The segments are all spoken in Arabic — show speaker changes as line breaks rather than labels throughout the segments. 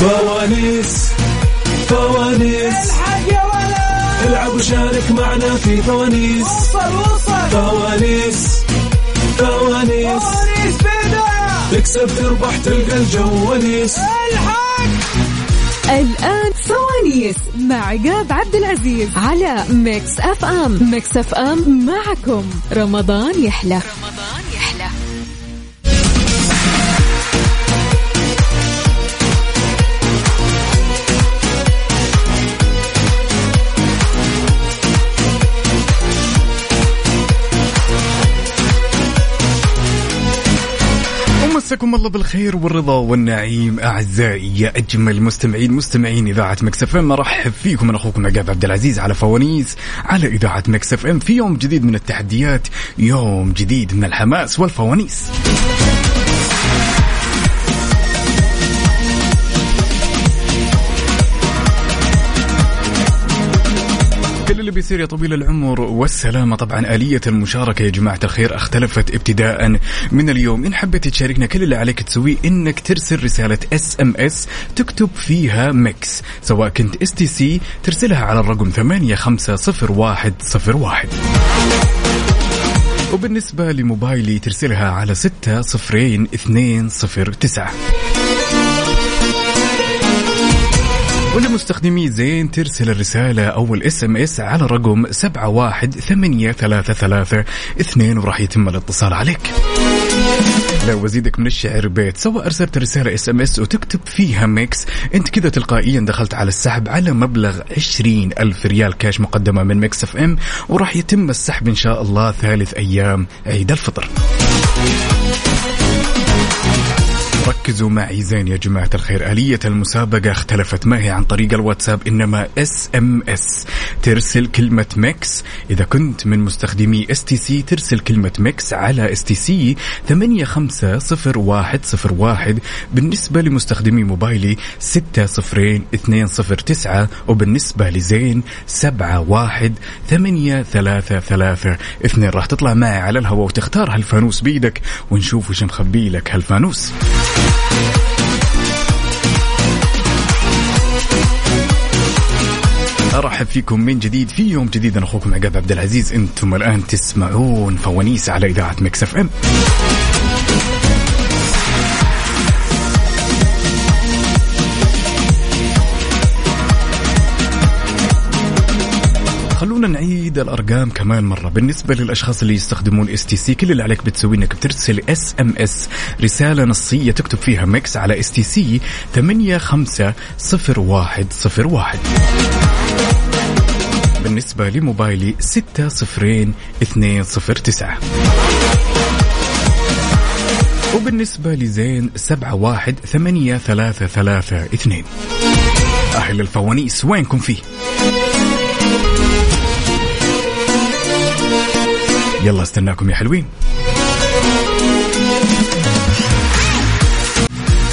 فوانيس فوانيس
الحق يا ولد
العب وشارك معنا في فوانيس
وصل وصل
فوانيس فوانيس
فوانيس بدا
تكسب تربح تلقى الجواليس
الحق
الآن فوانيس مع عقاب عبد العزيز على ميكس أف أم ميكس أف أم معكم رمضان يحلى رمضان يحلى
ومساكم الله بالخير والرضا والنعيم اعزائي يا اجمل مستمعين مستمعين اذاعه مكسف ام ارحب فيكم انا اخوكم نجاب عبد العزيز على فوانيس على اذاعه مكسف ام في يوم جديد من التحديات يوم جديد من الحماس والفوانيس كل اللي بيصير يا طويل العمر والسلامة طبعا آلية المشاركة يا جماعة الخير اختلفت ابتداء من اليوم إن حبيت تشاركنا كل اللي عليك تسويه إنك ترسل رسالة اس ام اس تكتب فيها ميكس سواء كنت اس تي سي ترسلها على الرقم 850101 وبالنسبة لموبايلي ترسلها على 60209 ولمستخدمي زين ترسل الرسالة أو الاس ام اس على رقم 7188332 وراح يتم الاتصال عليك. لو وزيدك من الشعر بيت سواء ارسلت رسالة اس ام اس وتكتب فيها ميكس انت كذا تلقائيا دخلت على السحب على مبلغ 20 ألف ريال كاش مقدمة من ميكس اف ام وراح يتم السحب ان شاء الله ثالث ايام عيد الفطر. ركزوا معي زين يا جماعة الخير آلية المسابقة اختلفت ما هي عن طريق الواتساب إنما اس ام اس ترسل كلمة ميكس إذا كنت من مستخدمي اس تي سي ترسل كلمة ميكس على اس تي سي 850101 بالنسبة لمستخدمي موبايلي 60209 وبالنسبة لزين 718332 راح تطلع معي على الهواء وتختار هالفانوس بيدك ونشوف وش مخبي لك هالفانوس ارحب فيكم من جديد في يوم جديد انا اخوكم عقاب عبد العزيز انتم الان تسمعون فوانيس على اذاعه مكس اف ام خلونا نعيد الارقام كمان مره بالنسبه للاشخاص اللي يستخدمون اس تي سي كل اللي عليك بتسويه انك بترسل اس ام اس رساله نصيه تكتب فيها ميكس على اس تي سي 850101 بالنسبه لموبايلي 60209 وبالنسبة لزين سبعة واحد ثمانية ثلاثة ثلاثة اثنين أهل الفوانيس وينكم فيه؟ يلا استناكم يا حلوين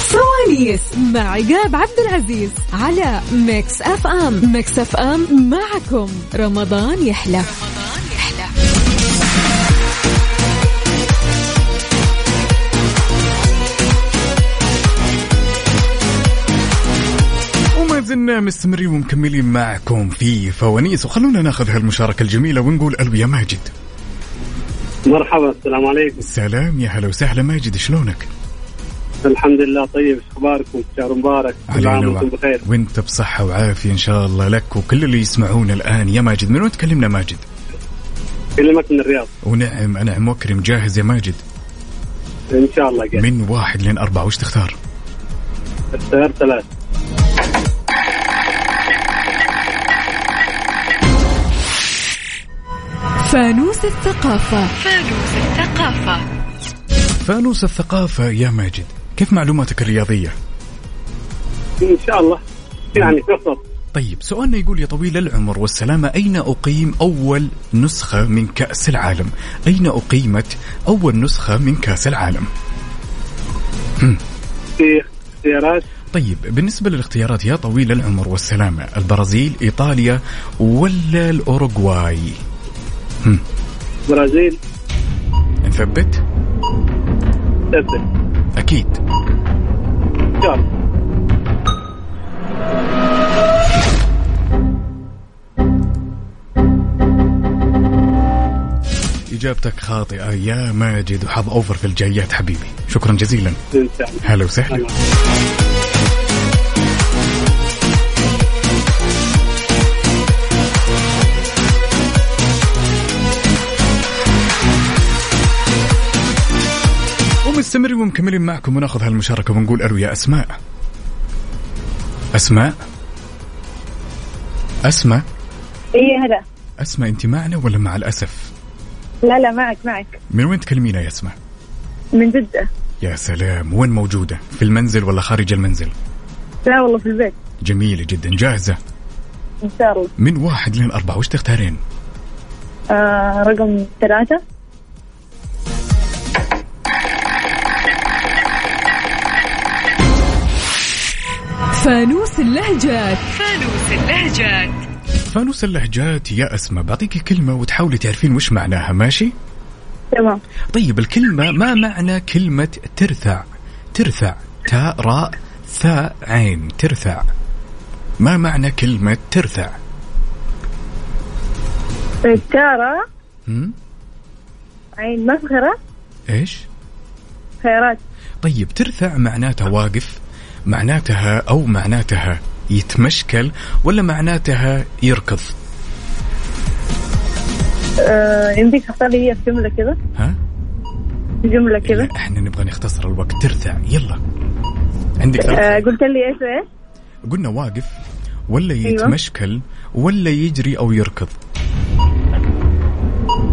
فوانيس مع عقاب عبد العزيز على ميكس أف أم ميكس أف أم معكم رمضان يحلى رمضان يحلى
وما زلنا مستمرين ومكملين معكم في فوانيس وخلونا ناخذ هالمشاركة الجميلة ونقول ألو يا ماجد
مرحبا السلام عليكم
سلام يا هلا وسهلا ماجد شلونك؟
الحمد لله طيب ايش اخباركم شهر مبارك كل
علينا
عام
وع-
وانتم بخير
وانت بصحة وعافية ان شاء الله لك وكل اللي يسمعونا الآن يا ماجد من وين تكلمنا ماجد؟
كلمك من الرياض
ونعم أنعم وكرم جاهز يا ماجد
ان شاء الله قاعد
من واحد لين أربعة وش تختار؟
السيارة ثلاث
فانوس الثقافة
فانوس الثقافة يا ماجد كيف معلوماتك الرياضية؟
ان شاء الله يعني فقط
طيب سؤالنا يقول يا طويل العمر والسلامة أين أقيم أول نسخة من كأس العالم؟ أين أقيمت أول نسخة من كأس العالم؟
في اختيارات
طيب بالنسبة للاختيارات يا طويل العمر والسلامة البرازيل إيطاليا ولا الأوروغواي
برازيل
نثبت
تسد
أكيد
ان شاء الله
اجابتك خاطئه يا ماجد وحظ اوفر في الجايات حبيبي شكرا جزيلا
انت
هلا وسهلا
هلا.
ومستمرين ومكملين معكم وناخذ هالمشاركه ونقول الو يا اسماء اسماء اسماء
اي إيه، هلا
اسماء انت معنا ولا مع الاسف
لا لا معك معك
من وين تكلمينا يا اسماء
من جدة
يا سلام وين موجوده في المنزل ولا خارج المنزل
لا والله في البيت
جميله جدا جاهزه
ان شاء الله
من واحد لين أربعة وش تختارين؟
آه رقم ثلاثة
فانوس اللهجات
فانوس اللهجات يا أسماء بعطيك كلمة وتحاولي تعرفين وش معناها ماشي؟
تمام
طيب الكلمة ما معنى كلمة ترثع؟ ترثع تاء راء ثاء عين ترثع ما معنى كلمة ترثع؟
طيب، تارة
هم؟
عين مفخرة
إيش؟
خيرات
طيب ترثع معناتها واقف معناتها أو معناتها يتمشكل ولا معناتها يركض
آه يمديك تختار لي إياها في جملة كذا
ها؟
في جملة كذا
لا، احنا نبغى نختصر الوقت ترثع يلا عندك ثلاث
آه قلت لي ايش ايش
قلنا واقف ولا
أيوة.
يتمشكل ولا يجري او يركض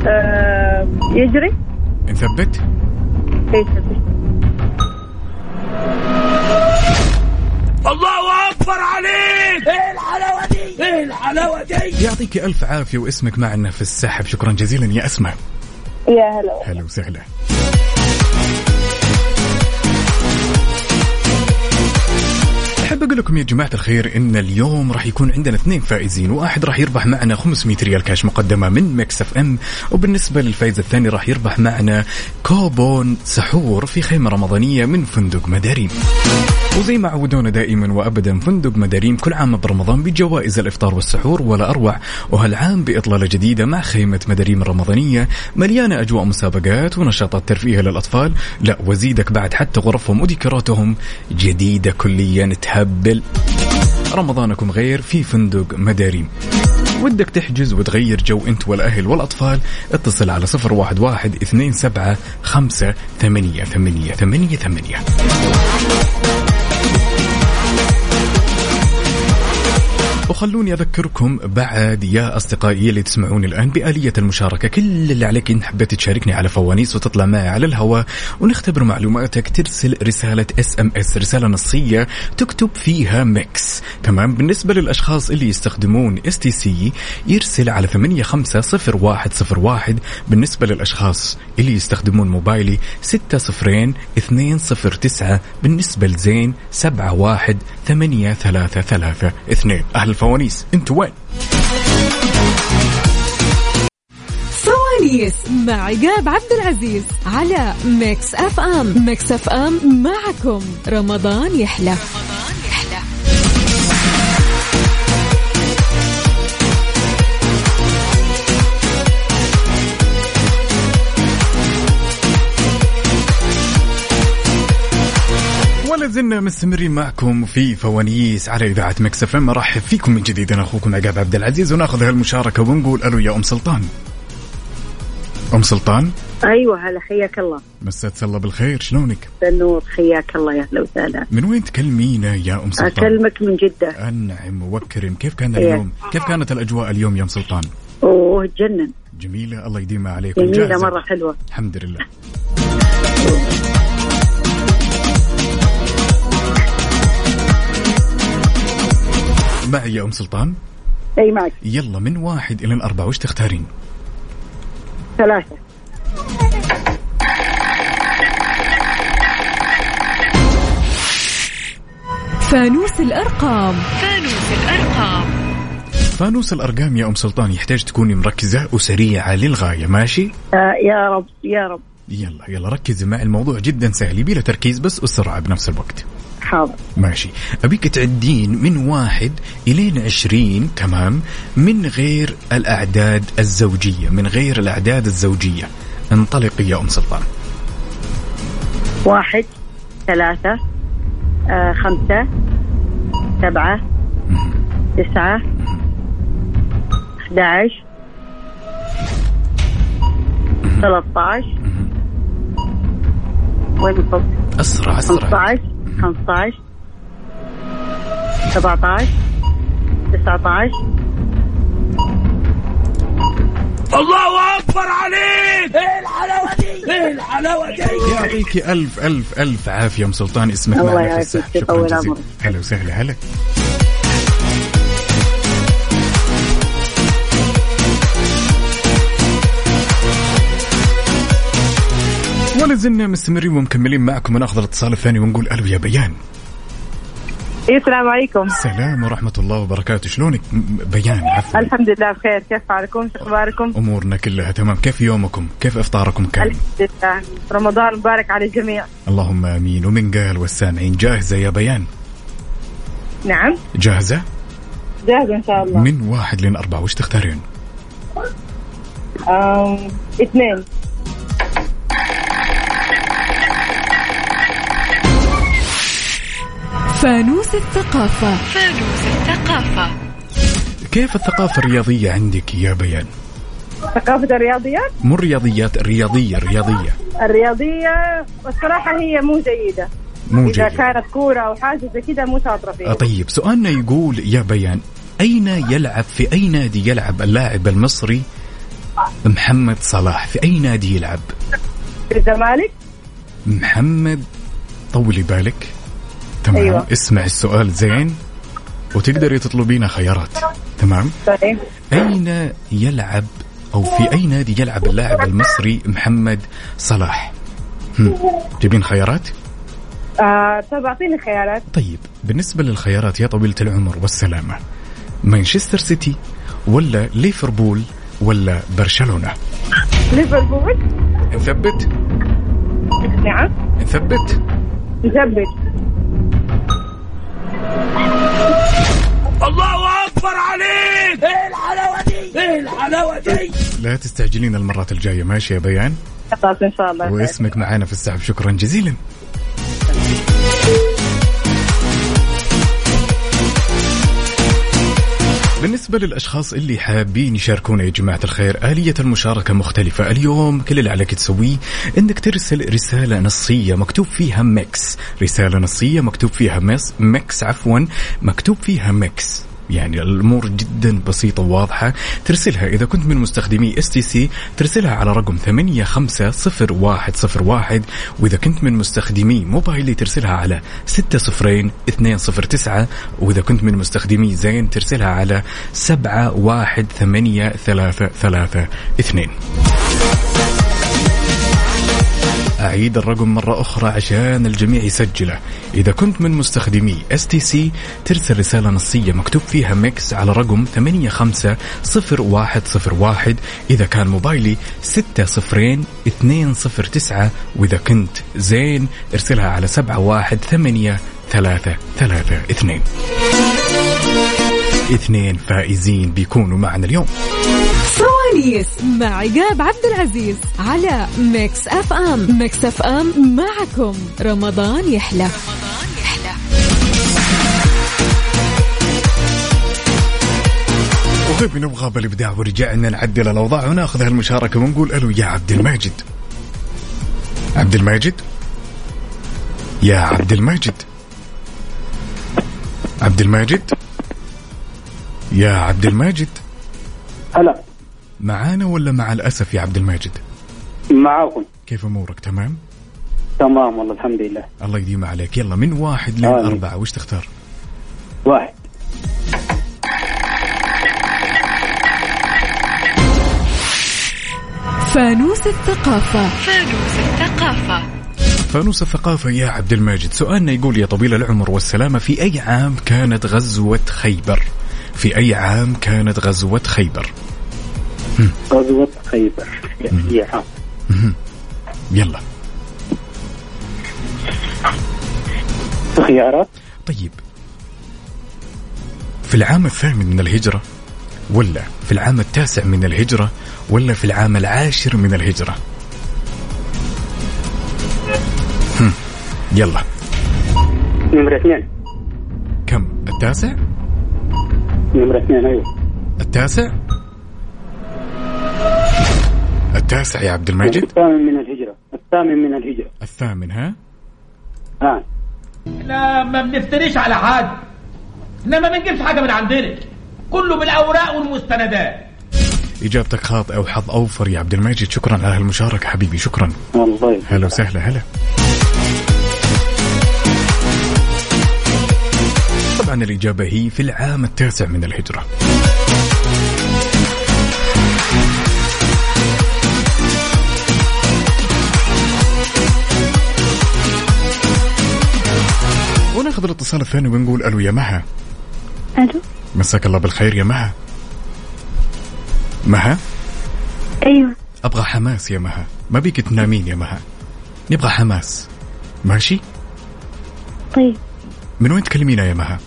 آه يجري
نثبت
إيه، تفضل.
يعطيك الف عافيه واسمك معنا في السحب شكرا جزيلا يا اسماء
يا هلا
هلا وسهلا أحب أقول لكم يا جماعة الخير إن اليوم راح يكون عندنا اثنين فائزين واحد راح يربح معنا 500 ريال كاش مقدمة من مكس اف ام وبالنسبة للفائز الثاني راح يربح معنا كوبون سحور في خيمة رمضانية من فندق مداريم وزي ما عودونا دائما وابدا فندق مداريم كل عام برمضان بجوائز الافطار والسحور ولا اروع وهالعام باطلاله جديده مع خيمه مداريم الرمضانيه مليانه اجواء مسابقات ونشاطات ترفيهيه للاطفال لا وزيدك بعد حتى غرفهم وديكوراتهم جديده كليا تهبل رمضانكم غير في فندق مداريم ودك تحجز وتغير جو انت والاهل والاطفال اتصل على 011 27 5 8 8 8 8 وخلوني اذكركم بعد يا اصدقائي اللي تسمعوني الان باليه المشاركه كل اللي عليك ان حبيت تشاركني على فوانيس وتطلع معي على الهواء ونختبر معلوماتك ترسل رساله اس ام اس رساله نصيه تكتب فيها ميكس تمام بالنسبه للاشخاص اللي يستخدمون اس تي سي يرسل على 850101 بالنسبه للاشخاص اللي يستخدمون موبايلي 60209 بالنسبه لزين 718332 اهل الفوانيس انتوا وين؟
فوانيس مع عقاب عبد العزيز على ميكس اف ام ميكس اف ام معكم رمضان يحلى
ولا زلنا مستمرين معكم في فوانيس على اذاعه مكس اف ام ارحب فيكم من جديد انا اخوكم عقاب عبد العزيز وناخذ هالمشاركه ونقول الو يا ام سلطان ام سلطان
أيوة،
ايوه هلا حياك الله
مسات الله بالخير شلونك؟
النور حياك الله يا اهلا وسهلا
من وين تكلمينا يا ام سلطان؟
اكلمك من جده
أنعم وكرم كيف كان
إيه.
اليوم كيف كانت الأجواء اليوم يا أم سلطان
اوه تجنن
جميلة الله يديمها عليكم
جميله
جاهزة؟
مره حلوه
الحمد لله معي يا أم سلطان
اي معك
يلا من واحد إلى أربعة وش تختارين
ثلاثه
فانوس الارقام
فانوس الأرقام يا أم سلطان يحتاج تكوني مركزة وسريعة للغاية ماشي
آه يا رب يا رب
يلا يلا ركزي مع الموضوع جدا سهل يبيله تركيز بس والسرعة بنفس الوقت
حاضر
ماشي أبيك تعدين من واحد إلين عشرين تمام من غير الأعداد الزوجية من غير الأعداد الزوجية انطلقي يا أم سلطان
واحد ثلاثة آه خمسة سبعة تسعة 11 13 وين بالضبط؟
أسرع أسرع
15 15 17 19
يعطيك ألف ألف ألف عافية أم سلطان اسمك
الله
معنا في
يعافيك،
السحب
يطول
شكرا جزيلا
عمرك.
هلا وسهلا هلا ولا زلنا مستمرين ومكملين معكم وناخذ الاتصال الثاني ونقول الو يا بيان
إيه، السلام عليكم
سلام ورحمه الله وبركاته شلونك م- بيان عفوا
الحمد لله بخير كيف حالكم شو اخباركم
امورنا كلها تمام كيف يومكم كيف افطاركم كان
الحمد لله رمضان مبارك على الجميع
اللهم امين ومن قال والسامعين جاهزه يا بيان
نعم
جاهزه
جاهزة ان شاء الله
من واحد لين أربعة وش تختارين؟
أم، اثنين
فانوس الثقافة
كيف الثقافة الرياضية عندك يا بيان؟
ثقافة الرياضيات
مو الرياضيات الرياضية الرياضية
الرياضية الصراحة هي مو جيدة
مو
إذا
جيدة
كانت كورة أو حاجة زي كذا مو شاطرة
آه،
فيها
طيب سؤالنا يقول يا بيان أين يلعب في أي نادي يلعب اللاعب المصري محمد صلاح في أي نادي يلعب
في الزمالك
محمد طولي بالك تمام
أيوة.
اسمع السؤال زين وتقدري تطلبين خيارات تمام
طيب
أين يلعب أو في أي نادي يلعب اللاعب المصري محمد صلاح؟ هم، تبين خيارات؟
آه، طب أعطيني خيارات
طيب بالنسبة للخيارات يا طويلة العمر والسلامة مانشستر سيتي ولا ليفربول ولا برشلونة؟
ليفربول
نثبت
نعم
نثبت
مثبت
لا تستعجلين المرات الجاية ماشي يا بيان
خلاص إن شاء الله
واسمك معانا في السحب شكرا جزيلا بالنسبة للأشخاص اللي حابين يشاركونا يا جماعة الخير آلية المشاركة مختلفة اليوم كل اللي عليك تسويه أنك ترسل رسالة نصية مكتوب فيها ميكس رسالة نصية مكتوب فيها ميكس, ميكس عفوا مكتوب فيها ميكس يعني الامور جدا بسيطه وواضحه ترسلها اذا كنت من مستخدمي اس تي سي ترسلها على رقم 850101 واذا كنت من مستخدمي موبايلي ترسلها على 60209 واذا كنت من مستخدمي زين ترسلها على 718332 أعيد الرقم مرة أخرى عشان الجميع يسجله إذا كنت من مستخدمي اس تي سي ترسل رسالة نصية مكتوب فيها ميكس على رقم 850101 إذا كان موبايلي 60209 وإذا كنت زين ارسلها على 718332 اثنين فائزين بيكونوا معنا اليوم
سواليس مع عقاب عبد العزيز على ميكس اف ام ميكس اف ام معكم رمضان يحلى
وغبي نبغى بالابداع ورجعنا نعدل الاوضاع وناخذ هالمشاركه ونقول الو يا عبد الماجد. عبد الماجد؟ يا عبد الماجد. عبد الماجد؟ يا عبد الماجد
هلا
معانا ولا مع الاسف يا عبد الماجد؟
معاكم
كيف امورك تمام؟
تمام والله الحمد لله
الله يديم عليك يلا من واحد لين
آمين.
أربعة وش تختار؟
واحد
فانوس الثقافة
فانوس الثقافة يا عبد الماجد سؤالنا يقول يا طويل العمر والسلامة في أي عام كانت غزوة خيبر؟ في أي عام كانت غزوة خيبر؟
غزوة خيبر هي عام
يلا
خيارات
طيب في العام الثامن من الهجرة ولا في العام التاسع من الهجرة ولا في العام العاشر من الهجرة هم. يلا
نمرة اثنين
كم التاسع
نمرة اثنين ايوه
التاسع التاسع يا عبد المجيد
الثامن من الهجرة الثامن من الهجرة آه.
الثامن ها
ها
احنا ما بنفتريش على حد انما ما بنجيبش حاجه من عندنا كله بالاوراق والمستندات
اجابتك خاطئه وحظ اوفر يا عبد المجيد شكرا على هالمشاركه حبيبي شكرا
والله يسلمك.
هلا وسهلا هلا طبعا الإجابة هي في العام التاسع من الهجرة وناخذ الاتصال الثاني ونقول الو يا مها
الو
مساك الله بالخير يا مها مها
ايوه
ابغى حماس يا مها ما بيك تنامين يا مها نبغى حماس ماشي
طيب
من وين تكلمينا يا مها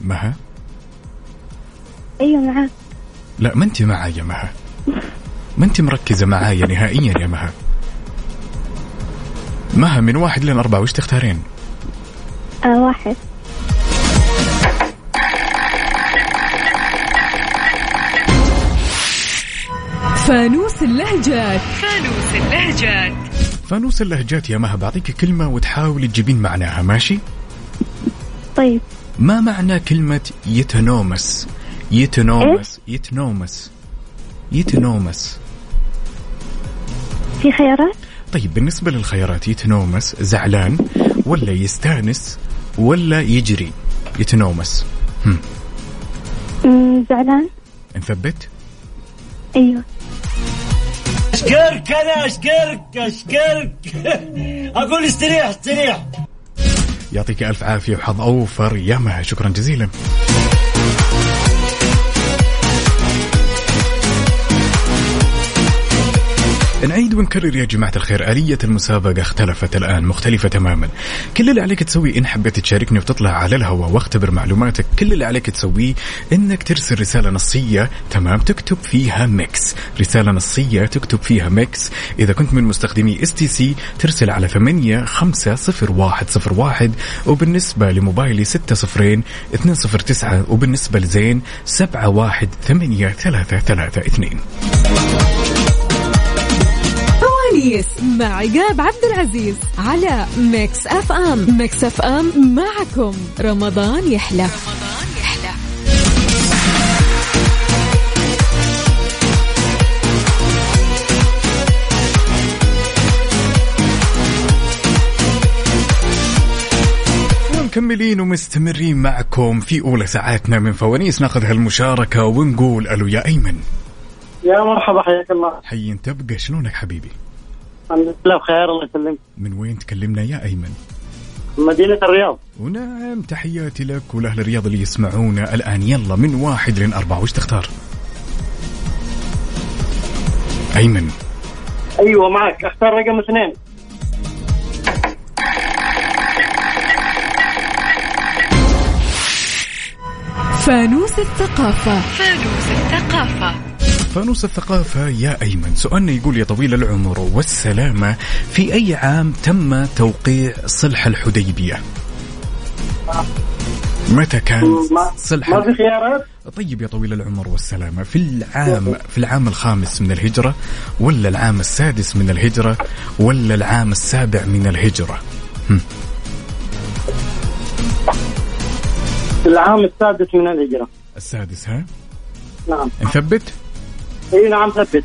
مها
ايوه معاك
لا ما انت معايا يا مها ما انت مركزه معايا نهائيا يا مها مها من واحد لين اربعه وش تختارين
آه واحد
فانوس اللهجات
فانوس اللهجات يا مها بعطيك كلمه وتحاولي تجيبين معناها ماشي
طيب
ما معنى كلمة يتنومس؟ يتنومس يتنومس يتنومس
في خيارات
طيب بالنسبة للخيارات يتنومس زعلان ولا يستانس ولا يجري يتنومس
مم، زعلان
نثبت
ايوه
يعطيك ألف عافية وحظ أوفر يا مها شكرا جزيلا نعيد ونكرر يا جماعة الخير آلية المسابقة اختلفت الآن مختلفة تماما كل اللي عليك تسويه إن حبيت تشاركني وتطلع على الهواء واختبر معلوماتك كل اللي عليك تسويه إنك ترسل رسالة نصية تمام تكتب فيها ميكس رسالة نصية تكتب فيها ميكس إذا كنت من مستخدمي اس تي سي ترسل على 8 5 0 1 0 1 وبالنسبة لموبايلي 6 صفرين 2 0 9 وبالنسبة لزين 7 1 8 3 3 2
فوانيس مع عقاب عبد العزيز على ميكس اف ام ميكس اف ام معكم رمضان يحلى
مكملين ومستمرين معكم في اولى ساعاتنا من فوانيس ناخذ هالمشاركه ونقول الو يا ايمن
يا مرحبا حياك الله
حي تبقى شلونك حبيبي
الحمد لله بخير الله يسلمك
من وين تكلمنا يا ايمن
مدينة الرياض
ونعم تحياتي لك ولاهل الرياض اللي يسمعونا الان يلا من واحد لين اربعه وش تختار ايمن
ايوه معك اختار رقم اثنين
فانوس الثقافة
فانوس الثقافة يا أيمن سؤالنا يقول يا طويل العمر والسلامة في أي عام تم توقيع صلح الحديبية متى كان
ما,
صلح
ما في خيارات
طيب يا طويل العمر والسلامة في العام في العام الخامس من الهجرة ولا العام السادس من الهجرة ولا العام السابع من الهجرة
العام السادس من الهجرة
السادس ها
نعم
نثبت
اي نعم ثبت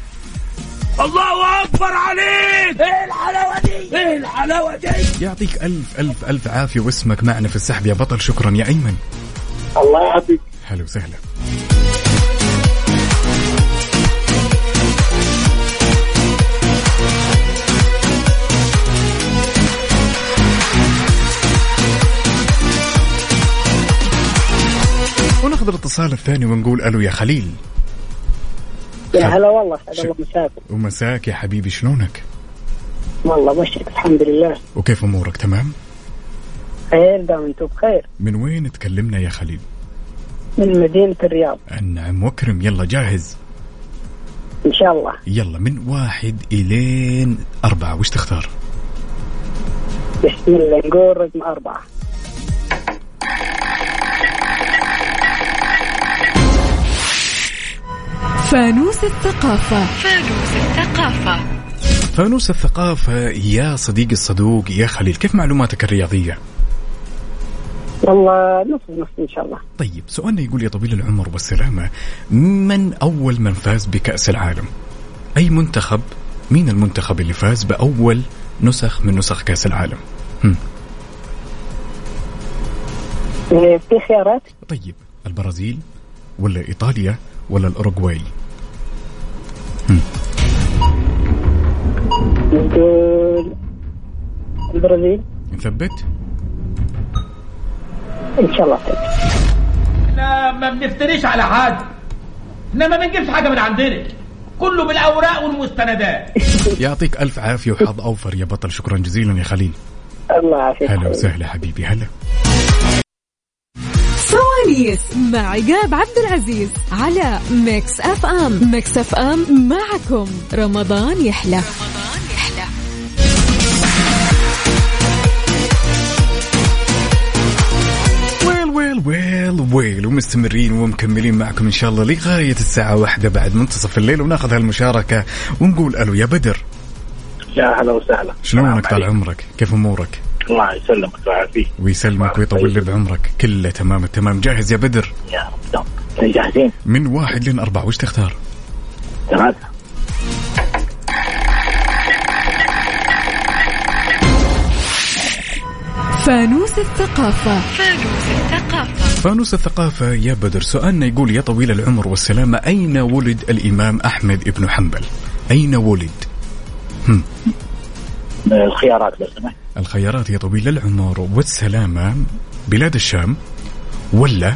يعطيك ألف ألف ألف عافية واسمك معنا في السحب يا بطل شكرا يا أيمن
الله يعافيك
هلا وسهلا وناخذ الاتصال الثاني ونقول الو يا خليل
يا هلا والله
شو-
مساك
ومساك يا حبيبي شلونك؟
والله بشرك الحمد لله
وكيف امورك تمام؟
خير دام انتم بخير
من وين تكلمنا يا خليل؟
من مدينة الرياض
نعم وكرم يلا جاهز
ان شاء الله
يلا من واحد الين اربعه وش تختار؟
بسم الله نقول رقم أربعة
فانوس الثقافة
فانوس الثقافه يا صديقي الصدوق يا خليل كيف معلوماتك الرياضيه؟
والله نص نص ان شاء الله
طيب سؤالنا يقول يا طويل العمر والسلامة من أول من فاز بكأس العالم أي منتخب مين المنتخب اللي فاز بأول نسخ من نسخ كأس العالم هم.
إيه، في خيارات
طيب البرازيل ولا إيطاليا ولا الأوروغواي
نقول البرازيل
نثبت
ان شاء الله طيب
لا ما بنفتريش على حد انما ما بنجيبش حاجه من عندنا كله بالاوراق والمستندات
يعطيك ألف عافية وحظ أوفر يا بطل شكرا جزيلا يا خليل
الله يعافيك
هلا
حبيبي.
وسهلا حبيبي هلا
سواليس مع عقاب عبد العزيز على ميكس اف ام ميكس اف ام معكم رمضان يحلى
ويل ويل ويل ويل ومستمرين ومكملين معكم ان شاء الله لغايه الساعه واحدة بعد منتصف الليل وناخذ هالمشاركه ونقول الو يا بدر
يا هلا وسهلا
شلونك طال عمرك كيف امورك
الله يسلمك ويعافيك
ويسلمك ويطول لي بعمرك كله تمام التمام جاهز يا بدر
يا رب دام. جاهزين
من واحد لين أربعة وش تختار
ثلاثة
فانوس الثقافة
فانوس الثقافة يا بدر سؤالنا يقول يا طويل العمر والسلامة أين ولد الإمام أحمد بن حنبل أين ولد
آه، الخيارات لو سمحت
الخيارات يا طويل العمر والسلامة بلاد الشام ولا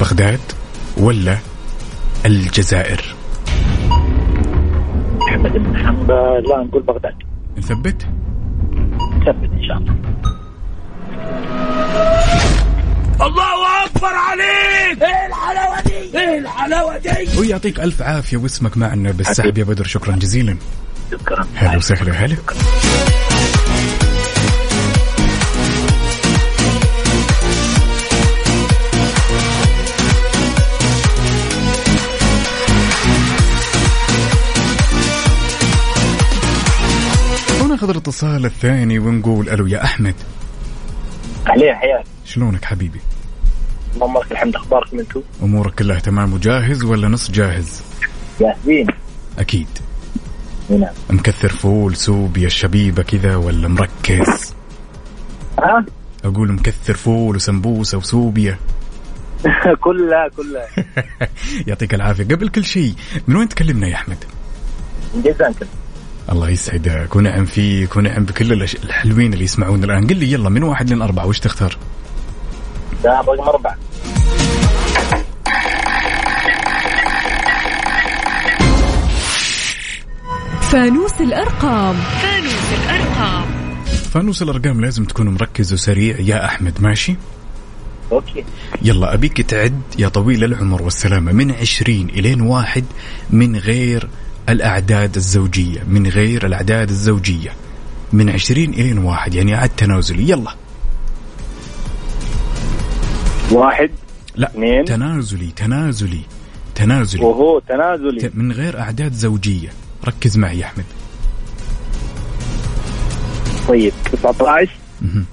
بغداد ولا الجزائر
احمد بن حنبل لا نقول بغداد
نثبت
ثبت ان شاء الله
ويعطيك ألف عافية واسمك معنا بالسحب يا بدر شكرا جزيلا
شكرا
هلا وسهلا هلا وناخذ الاتصال الثاني ونقول الو يا احمد
عليه حياك
شلونك حبيبي
اللهم لك الحمد اخباركم انتم
امورك كلها تمام وجاهز ولا نص جاهز
جاهزين
اكيد
نعم
مكثر فول سوب يا الشبيبه كذا ولا مركز
ها
اقول مكثر فول وسمبوسه وسوبيا
كلها كلها
يعطيك العافيه قبل كل شيء من وين تكلمنا يا احمد
جدا كنت
الله يسعدك ونعم فيك ونعم بكل الأش- الحلوين اللي يسمعونا الان قل لي يلا من واحد لين اربعه وش تختار
ده رقم أربعة
فانوس الأرقام
فانوس الارقام لازم تكون مركز وسريع يا احمد ماشي
اوكي
يلا ابيك تعد يا طويل العمر والسلامه من 20 الين واحد من غير الاعداد الزوجيه من غير الاعداد الزوجيه من 20 الين واحد يعني عد تنازلي يلا
واحد
لا
اثنين.
تنازلي تنازلي تنازلي
وهو تنازلي
من غير اعداد زوجيه ركز معي يا احمد
طيب 19
مهم.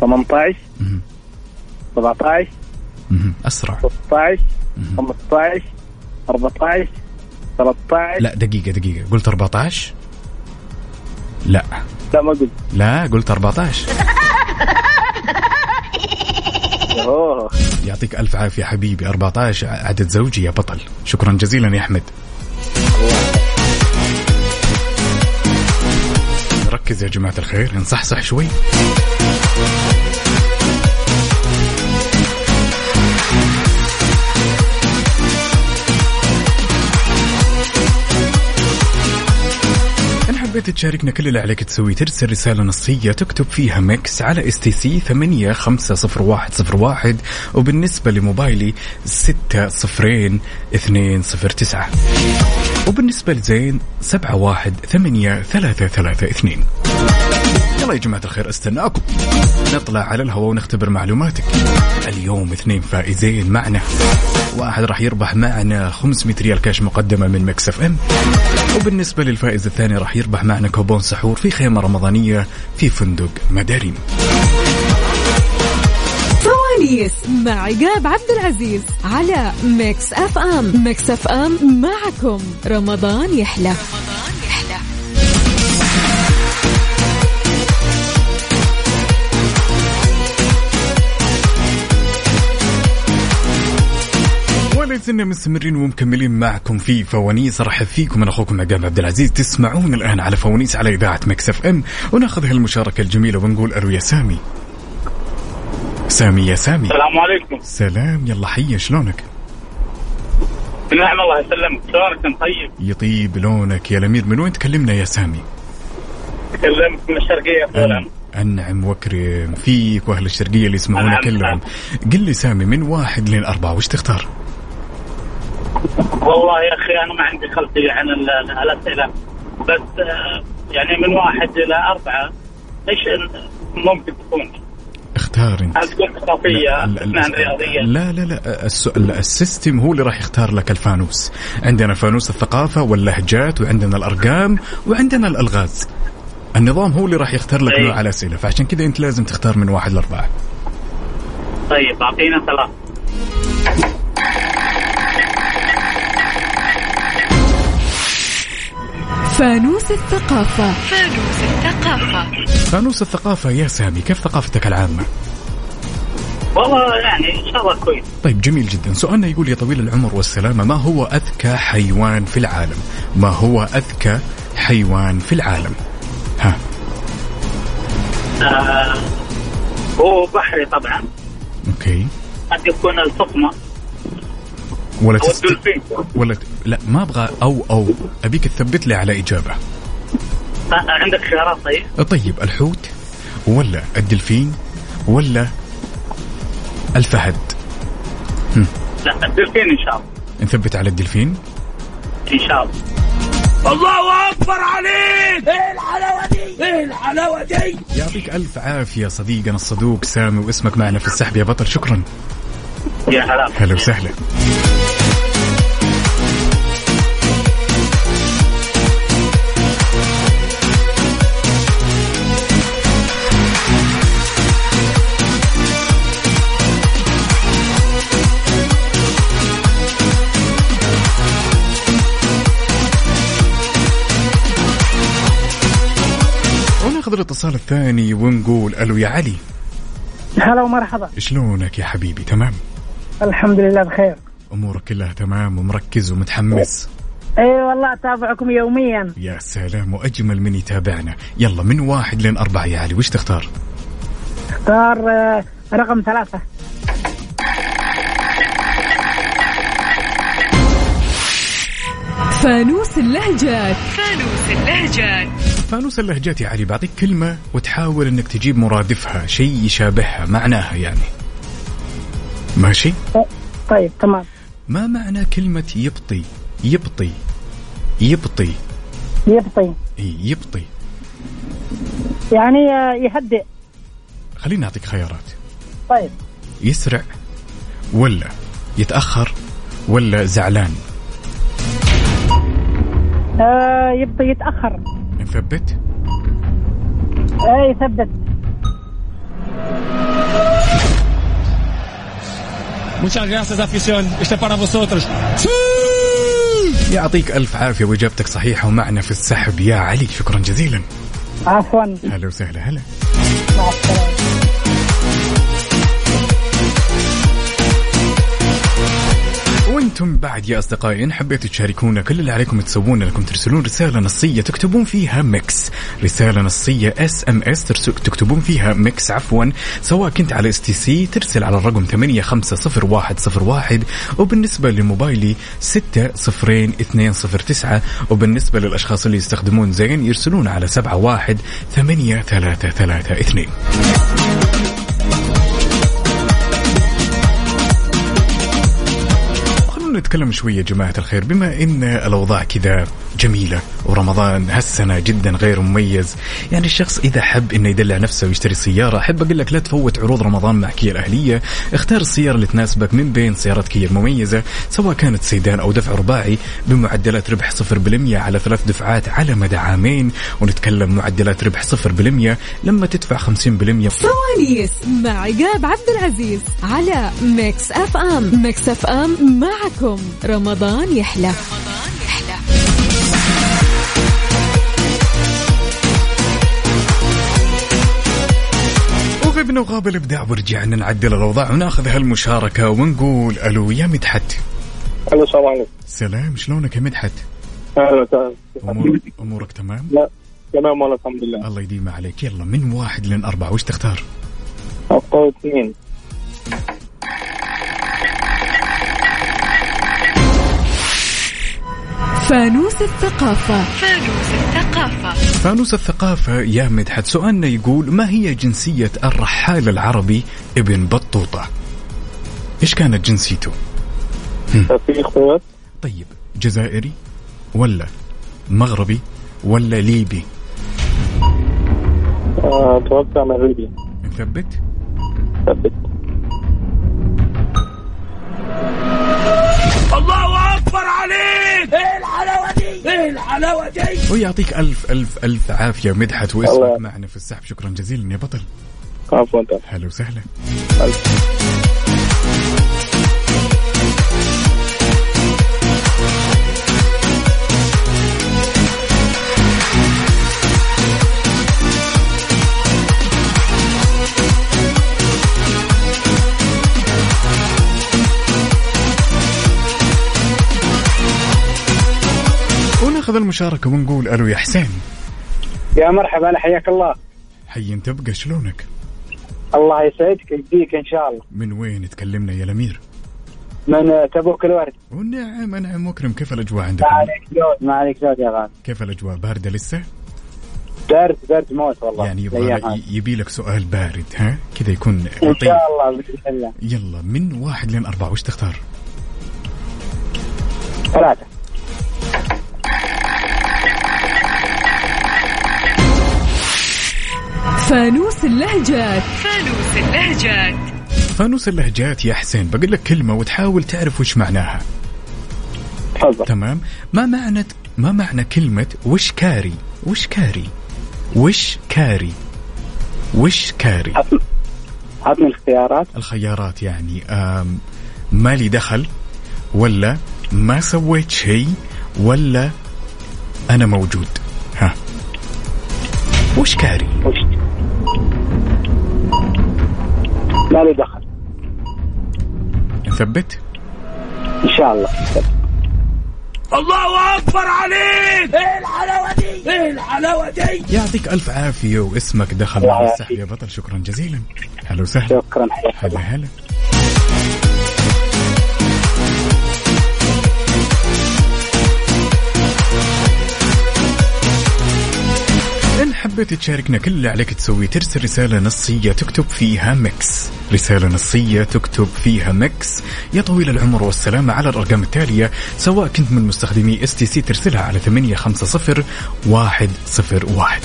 18
مهم.
17
مهم. اسرع
16 15 14 13
لا دقيقة دقيقة قلت 14 لا
لا ما قلت
لا قلت 14
اوه
يعطيك ألف عافية حبيبي 14 عدد زوجي يا بطل شكرا جزيلا يا أحمد ركز يا جماعة الخير انصحصح شوي نحب حبيت تشاركنا كل اللي عليك تسويه ترسل رسالة نصية تكتب فيها ميكس على اس تي سي 850101 وبالنسبة لموبايلي 600209 وبالنسبة لزين 718332 يلا يا جماعة الخير استناكم نطلع على الهواء ونختبر معلوماتك اليوم اثنين فائزين معنا واحد راح يربح معنا 500 ريال كاش مقدمة من مكس اف ام وبالنسبة للفائز الثاني راح يربح معنا كوبون سحور في خيمة رمضانية في فندق مدارين
فوانيس مع عقاب عبد العزيز على ميكس اف ام ميكس اف ام معكم رمضان يحلى
ولازلنا مستمرين ومكملين معكم في فوانيس ارحب فيكم انا اخوكم عقاب عبد العزيز تسمعون الان على فوانيس على اذاعه مكس اف ام وناخذ هالمشاركه الجميله ونقول الو يا سامي سامي يا سامي
السلام عليكم
سلام يلا حيا شلونك
نعم الله يسلمك شلونك انت طيب
يطيب لونك يا الامير من وين تكلمنا يا سامي
اكلمك من الشرقيه يا
أن- انعم واكرم فيك واهل الشرقيه اللي يسمعونا
أنعم.
كلهم قل لي سامي من واحد لين اربعه وش تختار
والله يا اخي انا ما عندي خلفيه عن ال- ال- الاسئله بس آه، يعني من واحد الى اربعه ايش ال- ممكن تكون؟
اختار انت
هل تكون ثقافيه؟
ال- ال-
اثنان رياضيه؟
لا لا لا السؤال السيستم هو اللي راح يختار لك الفانوس عندنا فانوس الثقافة واللهجات وعندنا الأرقام وعندنا الألغاز النظام هو اللي راح يختار
إيه.
لك نوع الأسئلة فعشان كذا أنت لازم تختار من واحد لأربعة
طيب اعطينا ثلاث
فانوس الثقافة
فانوس الثقافة
فانوس الثقافة يا سامي كيف ثقافتك العامة؟
والله يعني ان شاء الله كويس
طيب جميل جدا سؤالنا يقول يا طويل العمر والسلامة ما هو أذكى حيوان في العالم؟ ما هو أذكى حيوان في العالم؟ ها
آه، هو بحري طبعا
أوكي
قد يكون الفقمه
ولا
او
تست...
الدولفين
ولا ت... لا ما أبغى أو أو أبيك تثبت لي على إجابة
آه، عندك خيارات طيب؟
طيب الحوت ولا الدلفين ولا الفهد
لا الدولفين ان شاء الله
نثبت على الدلفين
ان شاء الله
الله اكبر عليك ايه الحلاوه دي ايه الحلاوه دي
يعطيك ألف عافية صديقنا الصدوق سامي واسمك معنا في السحب يا بطل شكرا
يا هلا
هلا وسهلا وناخذ الاتصال الثاني ونقول الو يا علي
هلا ومرحبا
شلونك يا حبيبي تمام
الحمد لله بخير
امورك كلها تمام ومركز ومتحمس
اي والله اتابعكم يوميا
يا سلام واجمل من يتابعنا يلا من واحد لين اربعه يا علي وش تختار
اختار آه، رقم ثلاثة
فانوس اللهجات
فانوس اللهجات
فانوس اللهجات يا علي بعطيك كلمه وتحاول انك تجيب مرادفها شيء يشابهها معناها يعني ماشي
طيب تمام
ما معنى كلمه يبطي يبطي يبطي
يبطي
إي، يبطي
طيب. يعني آه، يهدئ
خليني اعطيك خيارات
طيب
يسرع ولا يتاخر ولا زعلان
آه يبطي يتأخر
نثبت
آه يثبت
Muchas gracias afición. Este para vosotros.
يعطيك ألف عافية وإجابتك صحيحة ومعنا في السحب يا علي شكرا جزيلا
عفوا
هلا وسهلا هلا
مع السلامة
وإن انتم بعد يا اصدقائي ان حبيتوا تشاركونا كل اللي عليكم تسوونه انكم ترسلون رساله نصيه تكتبون فيها ميكس رساله نصيه اس ام اس تكتبون فيها ميكس عفوا سواء كنت على اس تي سي ترسل على الرقم 850101 وبالنسبه لموبايلي 600209 وبالنسبه للاشخاص اللي يستخدمون زين يرسلون على 718332 خلونا نتكلم شوية يا جماعة الخير بما إن الأوضاع كذا جميلة ورمضان هالسنة جدا غير مميز يعني الشخص إذا حب إنه يدلع نفسه ويشتري سيارة أحب أقول لك لا تفوت عروض رمضان مع كيا الأهلية اختار السيارة اللي تناسبك من بين سيارات كيا المميزة سواء كانت سيدان أو دفع رباعي بمعدلات ربح 0% على ثلاث دفعات على مدى عامين ونتكلم معدلات ربح 0% لما تدفع 50%
سواليس مع عقاب عبد العزيز على ميكس اف ام ميكس اف ام معكم رمضان يحلى
وغبنا وغاب الابداع ورجعنا نعدل الاوضاع وناخذ هالمشاركه ونقول الو يا مدحت
الو السلام عليكم
سلام شلونك يا مدحت؟
اهلا وسهلا
امورك امورك تمام؟
لا تمام والله الحمد لله
الله يديم عليك يلا من واحد لين اربعه وش تختار؟
اقول اثنين
فانوس الثقافة
فانوس الثقافة
فانوس الثقافة يا مدحت سؤالنا يقول ما هي جنسية الرحال العربي ابن بطوطة؟ ايش كانت جنسيته؟
في اخوات
طيب جزائري ولا مغربي ولا ليبي؟
آه، اتوقع مغربي
نثبت؟
ثبت
الله اكبر عليك ايه الحلاوه دي ايه الحلاوه دي
ويعطيك ألف ألف ألف عافية مدحت واسمك
الله.
معنا في السحب شكرا جزيلا يا بطل
عفوا تعال.
هلا وسهلا وناخذ المشاركة ونقول ألو يا حسين
يا مرحبا أنا حياك الله
حي انت تبقى شلونك
الله يسعدك يجزيك ان شاء الله
من وين تكلمنا يا الأمير
من تبوك الورد
والنعم نعم مكرم كيف الأجواء عندك
ما عليك زود ما عليك زود يا غالي
كيف الأجواء باردة لسه
برد برد موت والله
يعني
الأيام
يبغى
هذه.
يبي لك سؤال بارد ها كذا يكون
ان
لطيف
شاء الله باذن الله
يلا من واحد لين أربعة وش تختار
ثلاثة
فانوس اللهجات
فانوس اللهجات
فانوس اللهجات يا حسين بقول لك كلمة وتحاول تعرف وش معناها
تفضل
تمام ما معنى ما معنى كلمة وش كاري وش كاري وش كاري وش كاري
عطني الاختيارات
الخيارات يعني آم، ما لي دخل ولا ما سويت شيء ولا أنا موجود ها وش كاري
وش ما لي دخل
نثبت
ان شاء الله
الله اكبر عليك ايه الحلاوه دي ايه الحلاوه دي
يعطيك ألف عافية واسمك دخل
الله
مع
يعافيك.
السحب يا بطل شكرا جزيلا هلا وسهلا
شكرا حياك
هلا هلا إن حبيت تشاركنا كل اللي عليك تسويه ترسل رسالة نصية تكتب فيها مكس رسالة نصية تكتب فيها مكس يا طويل العمر والسلامة على الأرقام التالية سواء كنت من مستخدمي اس تي سي ترسلها على 850 101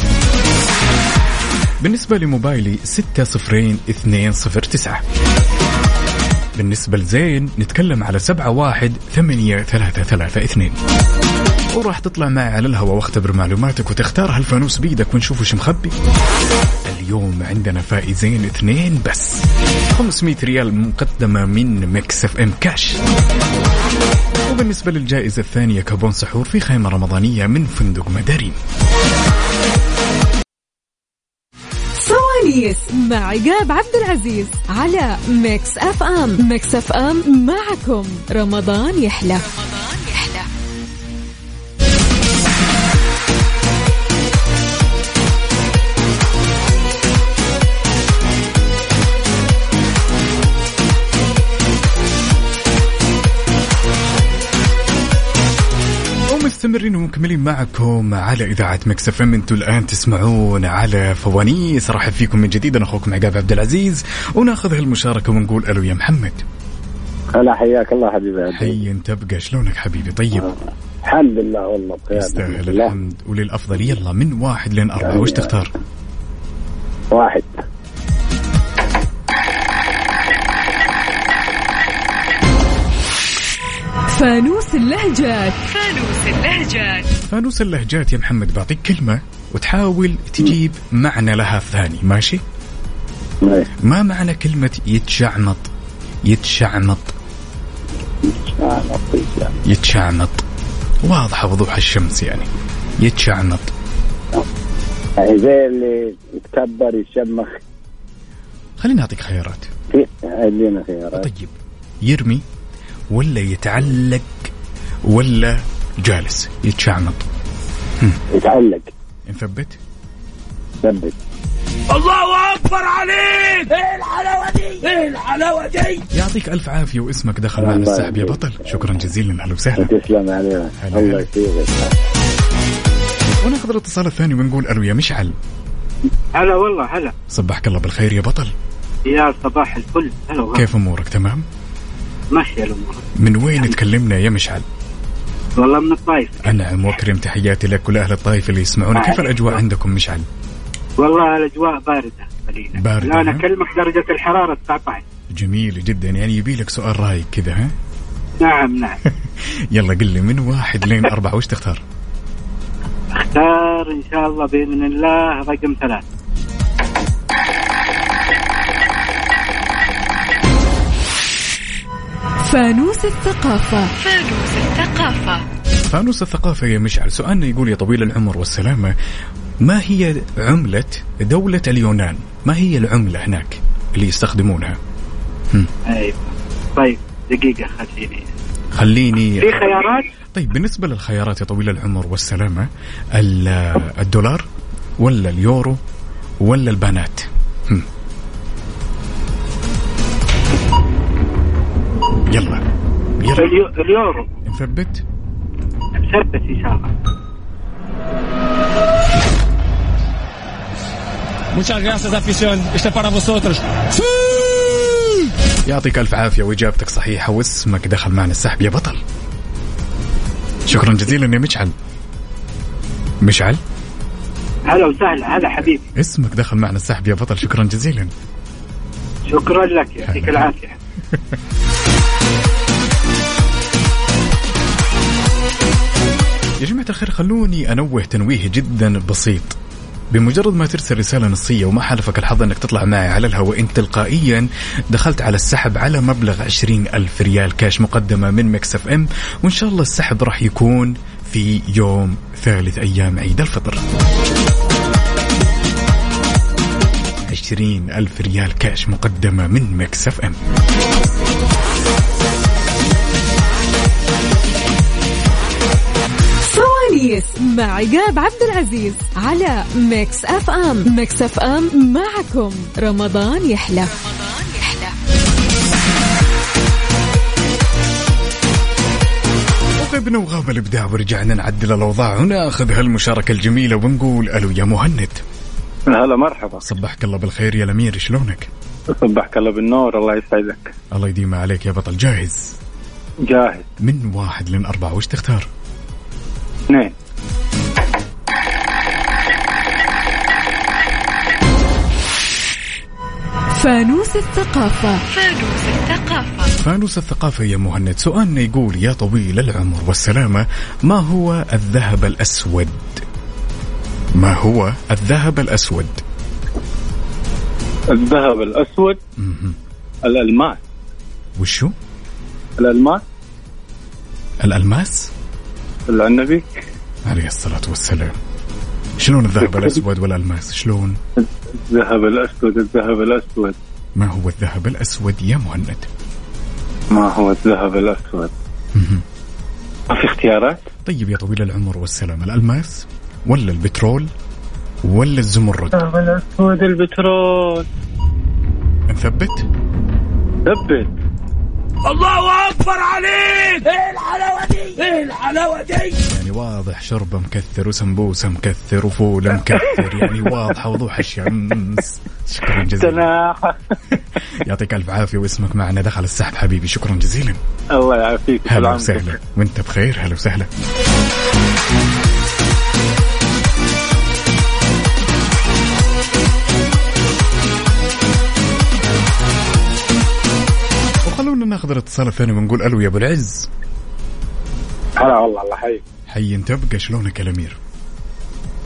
بالنسبة لموبايلي 600209 بالنسبة لزين نتكلم على 718332 وراح تطلع معي على الهواء واختبر معلوماتك وتختار هالفانوس بيدك ونشوف وش مخبي اليوم عندنا فائزين اثنين بس 500 ريال مقدمة من ميكس اف ام كاش وبالنسبة للجائزة الثانية كابون سحور في خيمة رمضانية من فندق مدارين
ونيس مع عقاب عبد العزيز على ميكس اف ام ميكس اف ام معكم رمضان يحلى
ومستمرين ومكملين معكم على اذاعه مكس اف ام انتم الان تسمعون على فوانيس رحب فيكم من جديد انا اخوكم عقاب عبد العزيز وناخذ هالمشاركه ونقول الو يا محمد
هلا حياك الله حبيبي
حي انت ابقى شلونك حبيبي طيب
الحمد لله والله بخير
يستاهل الحمد وللافضل يلا من واحد لين اربعه وش تختار؟
واحد
فانوس اللهجات
فانوس اللهجات
فانوس اللهجات يا محمد بعطيك كلمه وتحاول تجيب معنى لها ثاني ماشي؟ ما معنى كلمه يتشعمط؟ يتشعمط يتشعمط واضحه وضوح الشمس يعني يتشعمط
يعني زي اللي يتكبر يشمخ
خليني اعطيك خيارات
في- ادينا خيارات
طيب يرمي ولا يتعلق ولا جالس يتشعمط
يتعلق
نثبت
ثبت
الله اكبر عليك ايه الحلاوه دي ايه الحلاوه دي
يعطيك الف عافيه واسمك دخل معنا السحب يا بطل شكرا جزيلا اهلا وسهلا
تسلم علينا الله يسلمك
وناخذ الاتصال الثاني ونقول الو يا مشعل
هلا والله هلا
صبحك الله بالخير يا بطل
يا صباح الفل هلا والله
كيف امورك تمام
ماشي الامور
من وين تكلمنا يا مشعل
والله من الطايف
انعم وكرم تحياتي لك ولأهل الطائف اللي يسمعونا كيف الاجواء عندكم مشعل
والله الاجواء بارده قليلا
باردة،
الان
ها؟
اكلمك درجه الحراره 19
جميل جدا يعني يبي لك سؤال رايق كذا ها
نعم نعم
يلا قل لي من واحد لين اربعه وش تختار
اختار ان شاء الله باذن الله رقم ثلاثة
فانوس الثقافة
فانوس الثقافة
فانوس الثقافة يا مشعل سؤالنا يقول يا طويل العمر والسلامة ما هي عملة دولة اليونان؟ ما هي العملة هناك اللي يستخدمونها؟
ايوه طيب دقيقه خليني
خليني
في خيارات
طيب بالنسبة للخيارات يا طويل العمر والسلامة ال- الدولار ولا اليورو ولا البنات؟ هم. يلا يلا
اليو- اليورو
مثبت
مثبت ان شاء الله
Muchas gracias afición, este para vosotros.
يعطيك الف عافيه واجابتك صحيحه واسمك دخل معنا السحب يا بطل شكرا جزيلا يا مشعل مشعل
هلا وسهلا هلا حبيبي
اسمك دخل معنا السحب يا بطل شكرا جزيلا
شكرا لك يعطيك العافيه
يا جماعه الخير خلوني انوه تنويه جدا بسيط بمجرد ما ترسل رسالة نصية وما حالفك الحظ أنك تطلع معي على الهواء أنت تلقائيا دخلت على السحب على مبلغ عشرين ألف ريال كاش مقدمة من مكس اف ام وإن شاء الله السحب راح يكون في يوم ثالث أيام عيد الفطر عشرين ألف ريال كاش مقدمة من مكس اف ام
سواليس مع عقاب عبد العزيز على ميكس اف ام ميكس اف ام معكم رمضان يحلى
وغبنا وغاب الابداع طيب، ورجعنا نعدل الاوضاع وناخذ هالمشاركه الجميله ونقول الو يا مهند
هلا مرحبا
صبحك الله بالخير يا الامير شلونك؟
صبحك الله بالنور الله يسعدك
الله يديم عليك يا بطل جاهز
جاهز
من واحد لين اربعه وش تختار؟
اثنين
فانوس الثقافة
فانوس الثقافة
فانوس الثقافه يا مهند سؤالنا يقول يا طويل العمر والسلامه ما هو الذهب الاسود؟ ما هو الذهب الاسود؟
الذهب الاسود
مهم.
الالماس
وشو؟
الالماس
الالماس؟
العنبي
عليه الصلاه والسلام شلون الذهب الاسود والالماس؟ شلون؟
الذهب الاسود الذهب الاسود
ما هو الذهب الأسود يا مهند؟
ما هو الذهب الاسود؟ ما في اختيارات؟
طيب يا طويل العمر والسلامة الألماس ولا البترول ولا الزمرد؟
الذهب الاسود آه، البترول
نثبت؟
ثبت
الله اكبر عليك ايه الحلاوه دي ايه الحلاوه دي
يعني واضح شربة مكثر وسمبوسة مكثر وفول مكثر يعني واضحة وضوح الشمس شكرا جزيلا
تناحة
يعطيك ألف عافية واسمك معنا دخل السحب حبيبي شكرا جزيلا
الله يعافيك
هلا
بالعمر.
وسهلا وانت بخير هلا وسهلا وخلونا ناخذ الاتصال الثاني ونقول الو يا ابو العز
هلا والله الله يحييك
حي انت ابقى شلونك يا الامير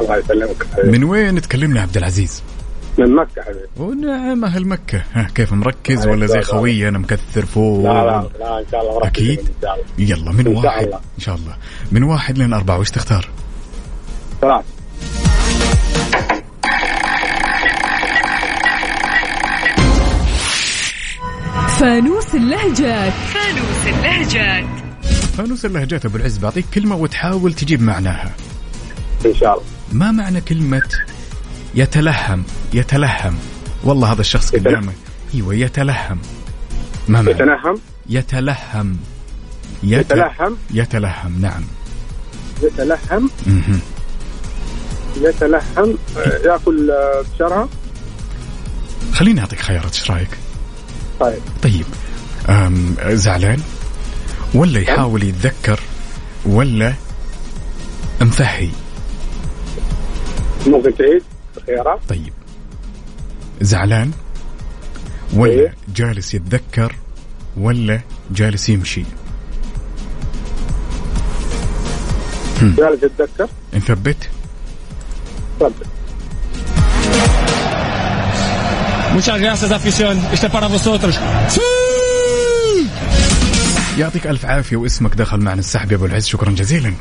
الله يسلمك
من وين تكلمنا عبد العزيز
من مكة حبيبي
ونعم اهل مكه ها كيف مركز ولا زي خوي انا مكثر فوق
لا لا لا ان شاء الله ورحمة
أكيد.
الله، ان شاء الله
يلا من
إن شاء
واحد
الله.
ان شاء الله من واحد لين اربعه وش تختار؟
ثلاث
فانوس اللهجات
فانوس اللهجات
فانوس اللهجات ابو العز بعطيك كلمه وتحاول تجيب معناها
ان شاء الله
ما معنى كلمه يتلهم يتلهم والله هذا الشخص
يتلهم.
قدامك ايوه يتلهم ما معنى
يتنهم
يتلهم يت-
يتلهم
يتلهم نعم
يتلهم
مهم.
يتلحم آه، ياكل آه، بشرها
خليني اعطيك خيارات ايش رايك؟
طيب
طيب أم زعلان ولا يحاول يتذكر ولا مفهي
ممكن تعيد الخيارات
طيب زعلان ولا
إيه.
جالس يتذكر ولا جالس يمشي
جالس يتذكر
نثبت
طب
Muchas gracias afición este para vosotros
يعطيك الف عافيه واسمك دخل معنا السحب يا ابو العز شكرا جزيلا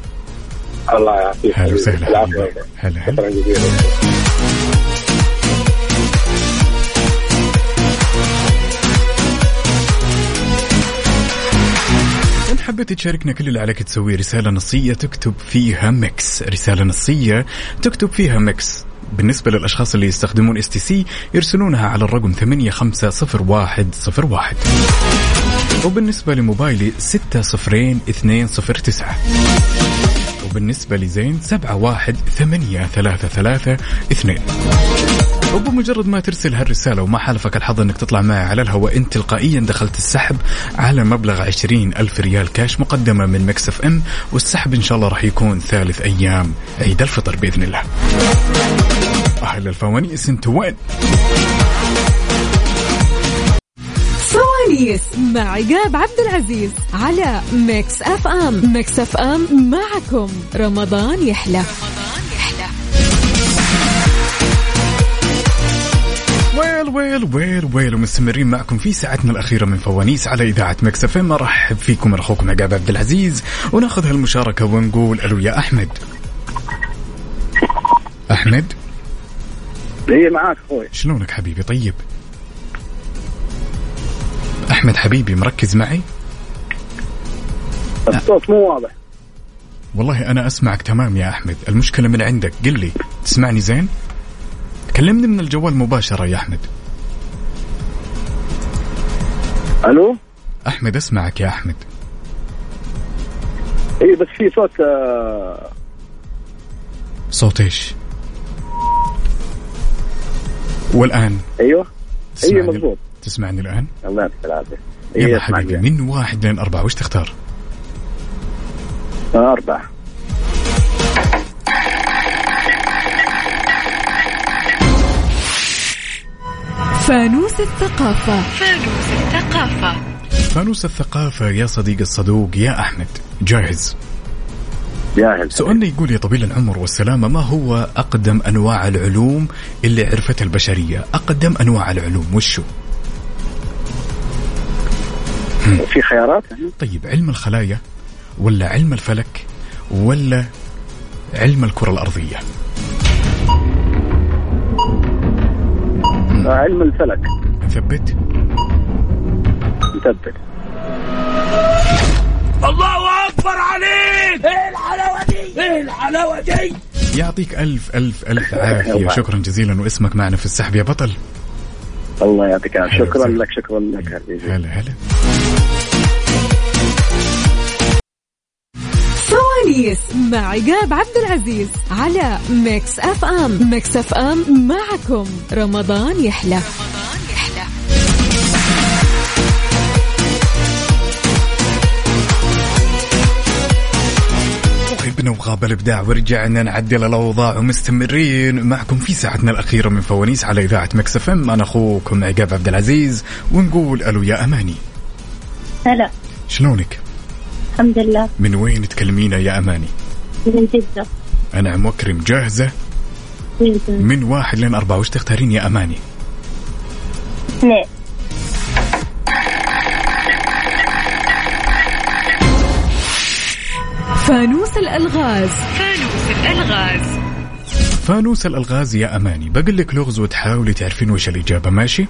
الله يعافيك
هلا
حبيبي.
وسهلا
العفو.
حبيبي. هلا هلا
شكرا جزيلا
إن حبيت تشاركنا كل اللي عليك تسويه رسالة نصية تكتب فيها ميكس رسالة نصية تكتب فيها ميكس بالنسبة للأشخاص اللي يستخدمون اس تي سي يرسلونها على الرقم 850101 وبالنسبة لموبايلي 602209 وبالنسبة لزين 718332 وبمجرد ما ترسل هالرسالة وما حالفك الحظ انك تطلع معي على الهواء انت تلقائيا دخلت السحب على مبلغ عشرين ألف ريال كاش مقدمة من مكس اف ام والسحب ان شاء الله راح يكون ثالث ايام عيد الفطر بإذن الله أهل الفوانيس انت وين؟
سواليس مع عقاب عبد العزيز على ميكس اف ام ميكس اف ام معكم رمضان يحلى
ويل ويل ويل ويل ومستمرين معكم في ساعتنا الأخيرة من فوانيس على إذاعة مكس اف ام أرحب فيكم أنا أخوكم عقاب عبد العزيز وناخذ هالمشاركة ونقول ألو يا أحمد أحمد
هي معاك اخوي
شلونك حبيبي طيب احمد حبيبي مركز معي نعم.
الصوت مو واضح
والله انا اسمعك تمام يا احمد المشكله من عندك قل لي تسمعني زين كلمني من الجوال مباشره يا احمد
الو
احمد اسمعك يا احمد
اي بس في صوت آه،
صوت ايش والان
أيوة،
ايوه
تسمعني-
مظبوط.
تسمعني الان
الله يعطيك العافيه
يلا
أيوة،
إيه،
حبيبي
اسمعني.
من واحد لين اربعه وش تختار
أربعة
فانوس الثقافة
فانوس الثقافة
فانوس الثقافه يا صديق الصدوق يا احمد جاهز
جاهز
سؤالنا يقول يا طويل العمر والسلامة ما هو أقدم أنواع العلوم اللي عرفتها البشرية أقدم أنواع العلوم وشو
في خيارات
طيب علم الخلايا ولا علم الفلك ولا علم الكرة الأرضية
آه، علم الفلك
مثبت
مثبت
الله اكبر عليك ايه الحلاوه دي ايه الحلاوه دي
يعطيك ألف ألف ألف عافية شكرا جزيلا واسمك معنا في السحب يا بطل
الله يعطيك العافيه شكرا لك شكرا لك حبيبي
هلا هلا
سواليس مع عقاب عبد العزيز على ميكس اف ام ميكس اف ام معكم رمضان يحلى
ابن وغاب الابداع طيب، ورجعنا نعدل الاوضاع ومستمرين معكم في ساعتنا الاخيره من فوانيس على اذاعه مكس اف ام انا اخوكم عقاب عبد العزيز ونقول الو يا اماني
هلا
شلونك؟
آه، الحمد لله
من وين تكلمينا يا اماني؟
من جدة
انا مكرم جاهزه
جدا
من واحد لين اربعه وش تختارين يا اماني؟
اثنين
فانوس الالغاز
فانوس الألغاز
فانوس الالغاز يا اماني بقول لك لغز وتحاولي تعرفين وش الاجابه ماشي؟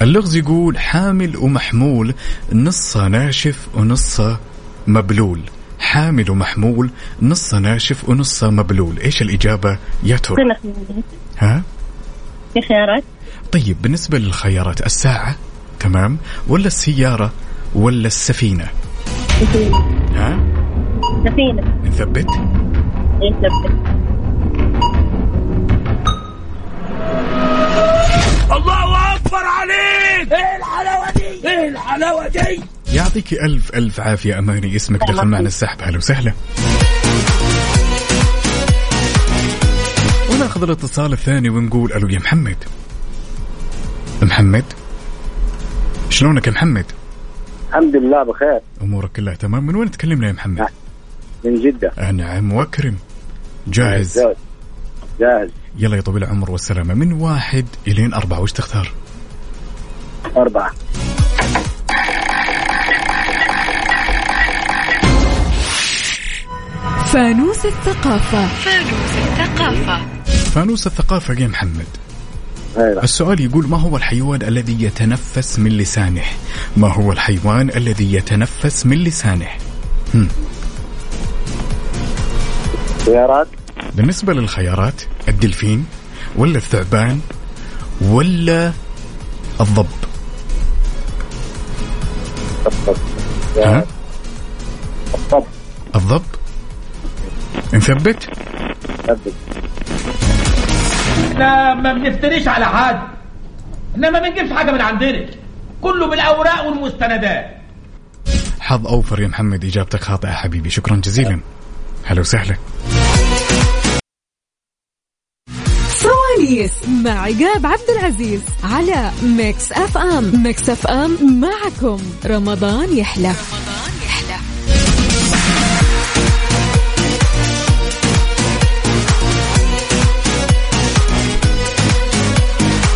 اللغز يقول حامل ومحمول نصه ناشف ونصه مبلول حامل ومحمول نصه ناشف ونصه مبلول ايش الاجابه يا ترى؟
كنا خيارات
ها؟
في خيارات
طيب بالنسبه للخيارات الساعه تمام ولا السياره ولا السفينه؟
سفينة
ها؟
سفينة
نثبت؟
إيه، ثبت.
الله اكبر عليك ايه الحلاوه دي ايه الحلاوه دي
يعطيك ألف ألف عافية أماني اسمك دخل معنا السحب هلا وسهلا وناخذ الاتصال الثاني ونقول ألو يا محمد محمد شلونك يا محمد
الحمد لله بخير
أمورك كلها تمام من وين تكلمنا يا محمد
من جدة
نعم وأكرم
نعم.
جاهز
جاهز جاهز
يلا يا طويل العمر والسلامة من واحد إلين أربعة وش تختار
أربعة
فانوس الثقافة
فانوس الثقافة
فانوس الثقافة يا محمد
أيوة.
السؤال يقول ما هو الحيوان الذي يتنفس من لسانه ما هو الحيوان الذي يتنفس من لسانه هم.
خيارات
بالنسبة للخيارات الدلفين ولا الثعبان ولا الضب
الضب
ها؟
الضب
الضب نثبت
ثبت
احنا ما بنفتريش على حد انما ما بنجيبش حاجه من عندنا كله بالاوراق والمستندات
حظ أوفر يا محمد إجابتك خاطئة حبيبي شكرا جزيلا هلا وسهلا
سواليس مع عقاب عبد العزيز على ميكس اف ام ميكس اف ام معكم رمضان يحلى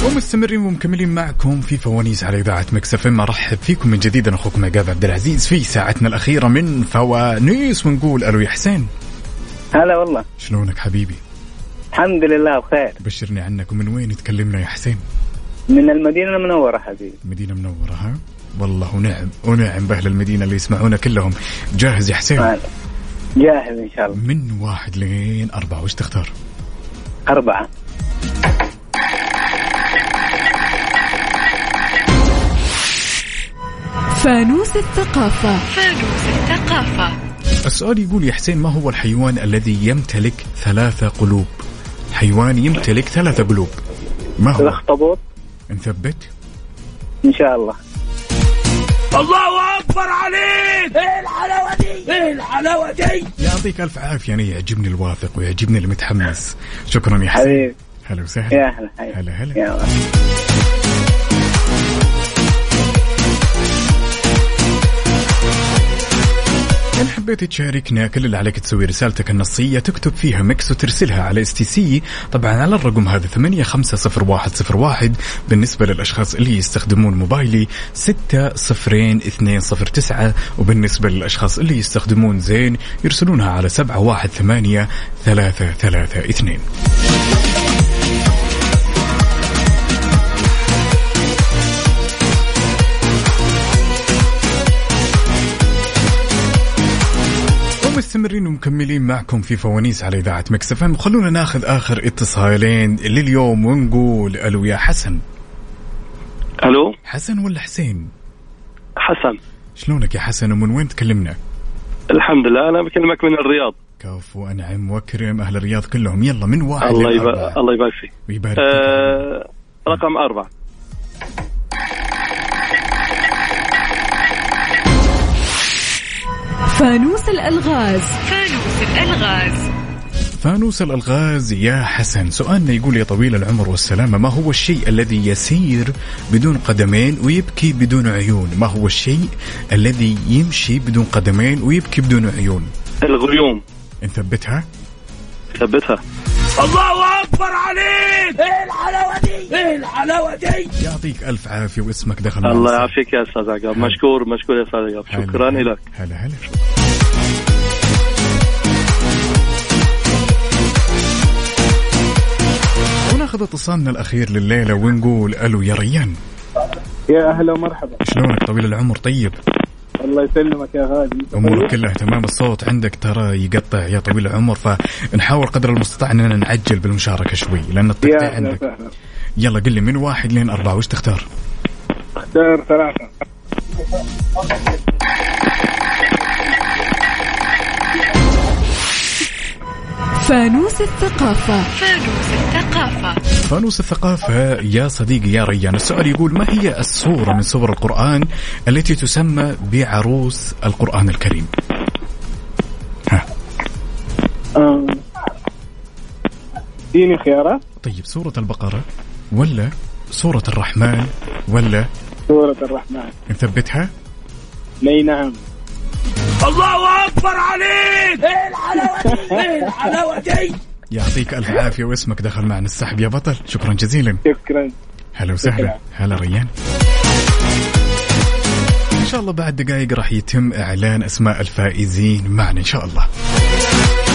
ومستمرين ومكملين معكم في فوانيس على اذاعه مكس اف ام ارحب فيكم من جديد انا اخوكم عقاب عبد العزيز في ساعتنا الاخيره من فوانيس ونقول الو يا حسين
هلا والله
شلونك حبيبي
الحمد لله بخير
بشرني عنك ومن وين تكلمنا يا حسين
من المدينة المنورة حبيبي
مدينه منوره ها والله ونعم ونعم باهل المدينه اللي يسمعونا كلهم جاهز يا
نعم.
حسين
هلا. جاهز إن شاء الله
من واحد لين اربعه وش تختار
أربعة
فانوس الثقافة
فانوس الثقافة
السؤال يقول يا حسين ما هو الحيوان الذي يمتلك ثلاثة قلوب؟ حيوان يمتلك ثلاثة قلوب ما هو؟
الأخطبوط
نثبت؟
إن شاء الله
الله اكبر عليك ايه الحلاوه دي ايه الحلاوه دي
يعطيك ألف عافية أنا يعجبني الواثق ويعجبني المتحمس شكرا يا حسين
إيه.
حبيبي
هلا
يا
وسهلا
هلا حبيبي.
هلا هلا
يا هلا.
إن حبيت تشاركنا كل اللي عليك تسوي رسالتك النصية تكتب فيها ميكس وترسلها على اس تي سي طبعا على الرقم هذا 850101 بالنسبة للأشخاص اللي يستخدمون موبايلي 602209 وبالنسبة للأشخاص اللي يستخدمون زين يرسلونها على 718332 مستمرين ومكملين معكم في فوانيس على إذاعة مكسف ام خلونا ناخذ آخر اتصالين لليوم ونقول ألو يا حسن
الو
حسن ولا حسين
حسن
شلونك يا حسن ومن وين تكلمنا
الحمد لله انا بكلمك من الرياض
كفو أنعم وأكرم أهل الرياض كلهم يلا من واحد
الله يبارك
للأربعة.
الله يبارك فيك
ويبارك فيك.
آه رقم أربعة
فانوس الألغاز
فانوس الألغاز
فانوس الألغاز يا حسن سؤالنا يقول يا طويل العمر والسلامة ما هو الشيء الذي يسير بدون قدمين ويبكي بدون عيون ما هو الشيء الذي يمشي بدون قدمين ويبكي بدون عيون
الغيوم
نثبتها
ثبتها
الله اكبر عليك ايه الحلاوه دي ايه الحلاوه دي
يعطيك ألف عافية واسمك دخل معنا
الله يعافيك يا استاذ عقاب مشكور مشكور يا استاذ عقاب شكرا
هلا.
لك
هلا هلا وناخذ اتصالنا الأخير لليلة ونقول ألو يا ريان
يا اهلا ومرحبا
شلونك طويل العمر طيب
الله يسلمك يا غالي
امورك كلها تمام الصوت عندك ترى يقطع يا طويل العمر فنحاول قدر المستطاع اننا نعجل بالمشاركه شوي لان
يا
التقطيع
اهلا
إيه عندك
وسهلا
يلا قل لي من واحد لين اربعه وش تختار؟
اختار ثلاثة
فانوس الثقافة
فانوس الثقافة
فانوس الثقافه يا صديقي يا ريان السؤال يقول ما هي السوره من سور القران التي تسمى بعروس القران الكريم؟
آه. اديني خيارات
طيب سوره البقره ولا سوره الرحمن ولا
سورة الرحمن
نثبتها؟
اي نعم
الله اكبر عليك ايه الحلاوه دي ايه الحلاوه دي
يعطيك الف عافيه واسمك دخل معنا السحب يا بطل شكرا جزيلا
شكرا
هلا وسهلا هلا ريان ان شاء الله بعد دقائق راح يتم اعلان اسماء الفائزين معنا ان شاء الله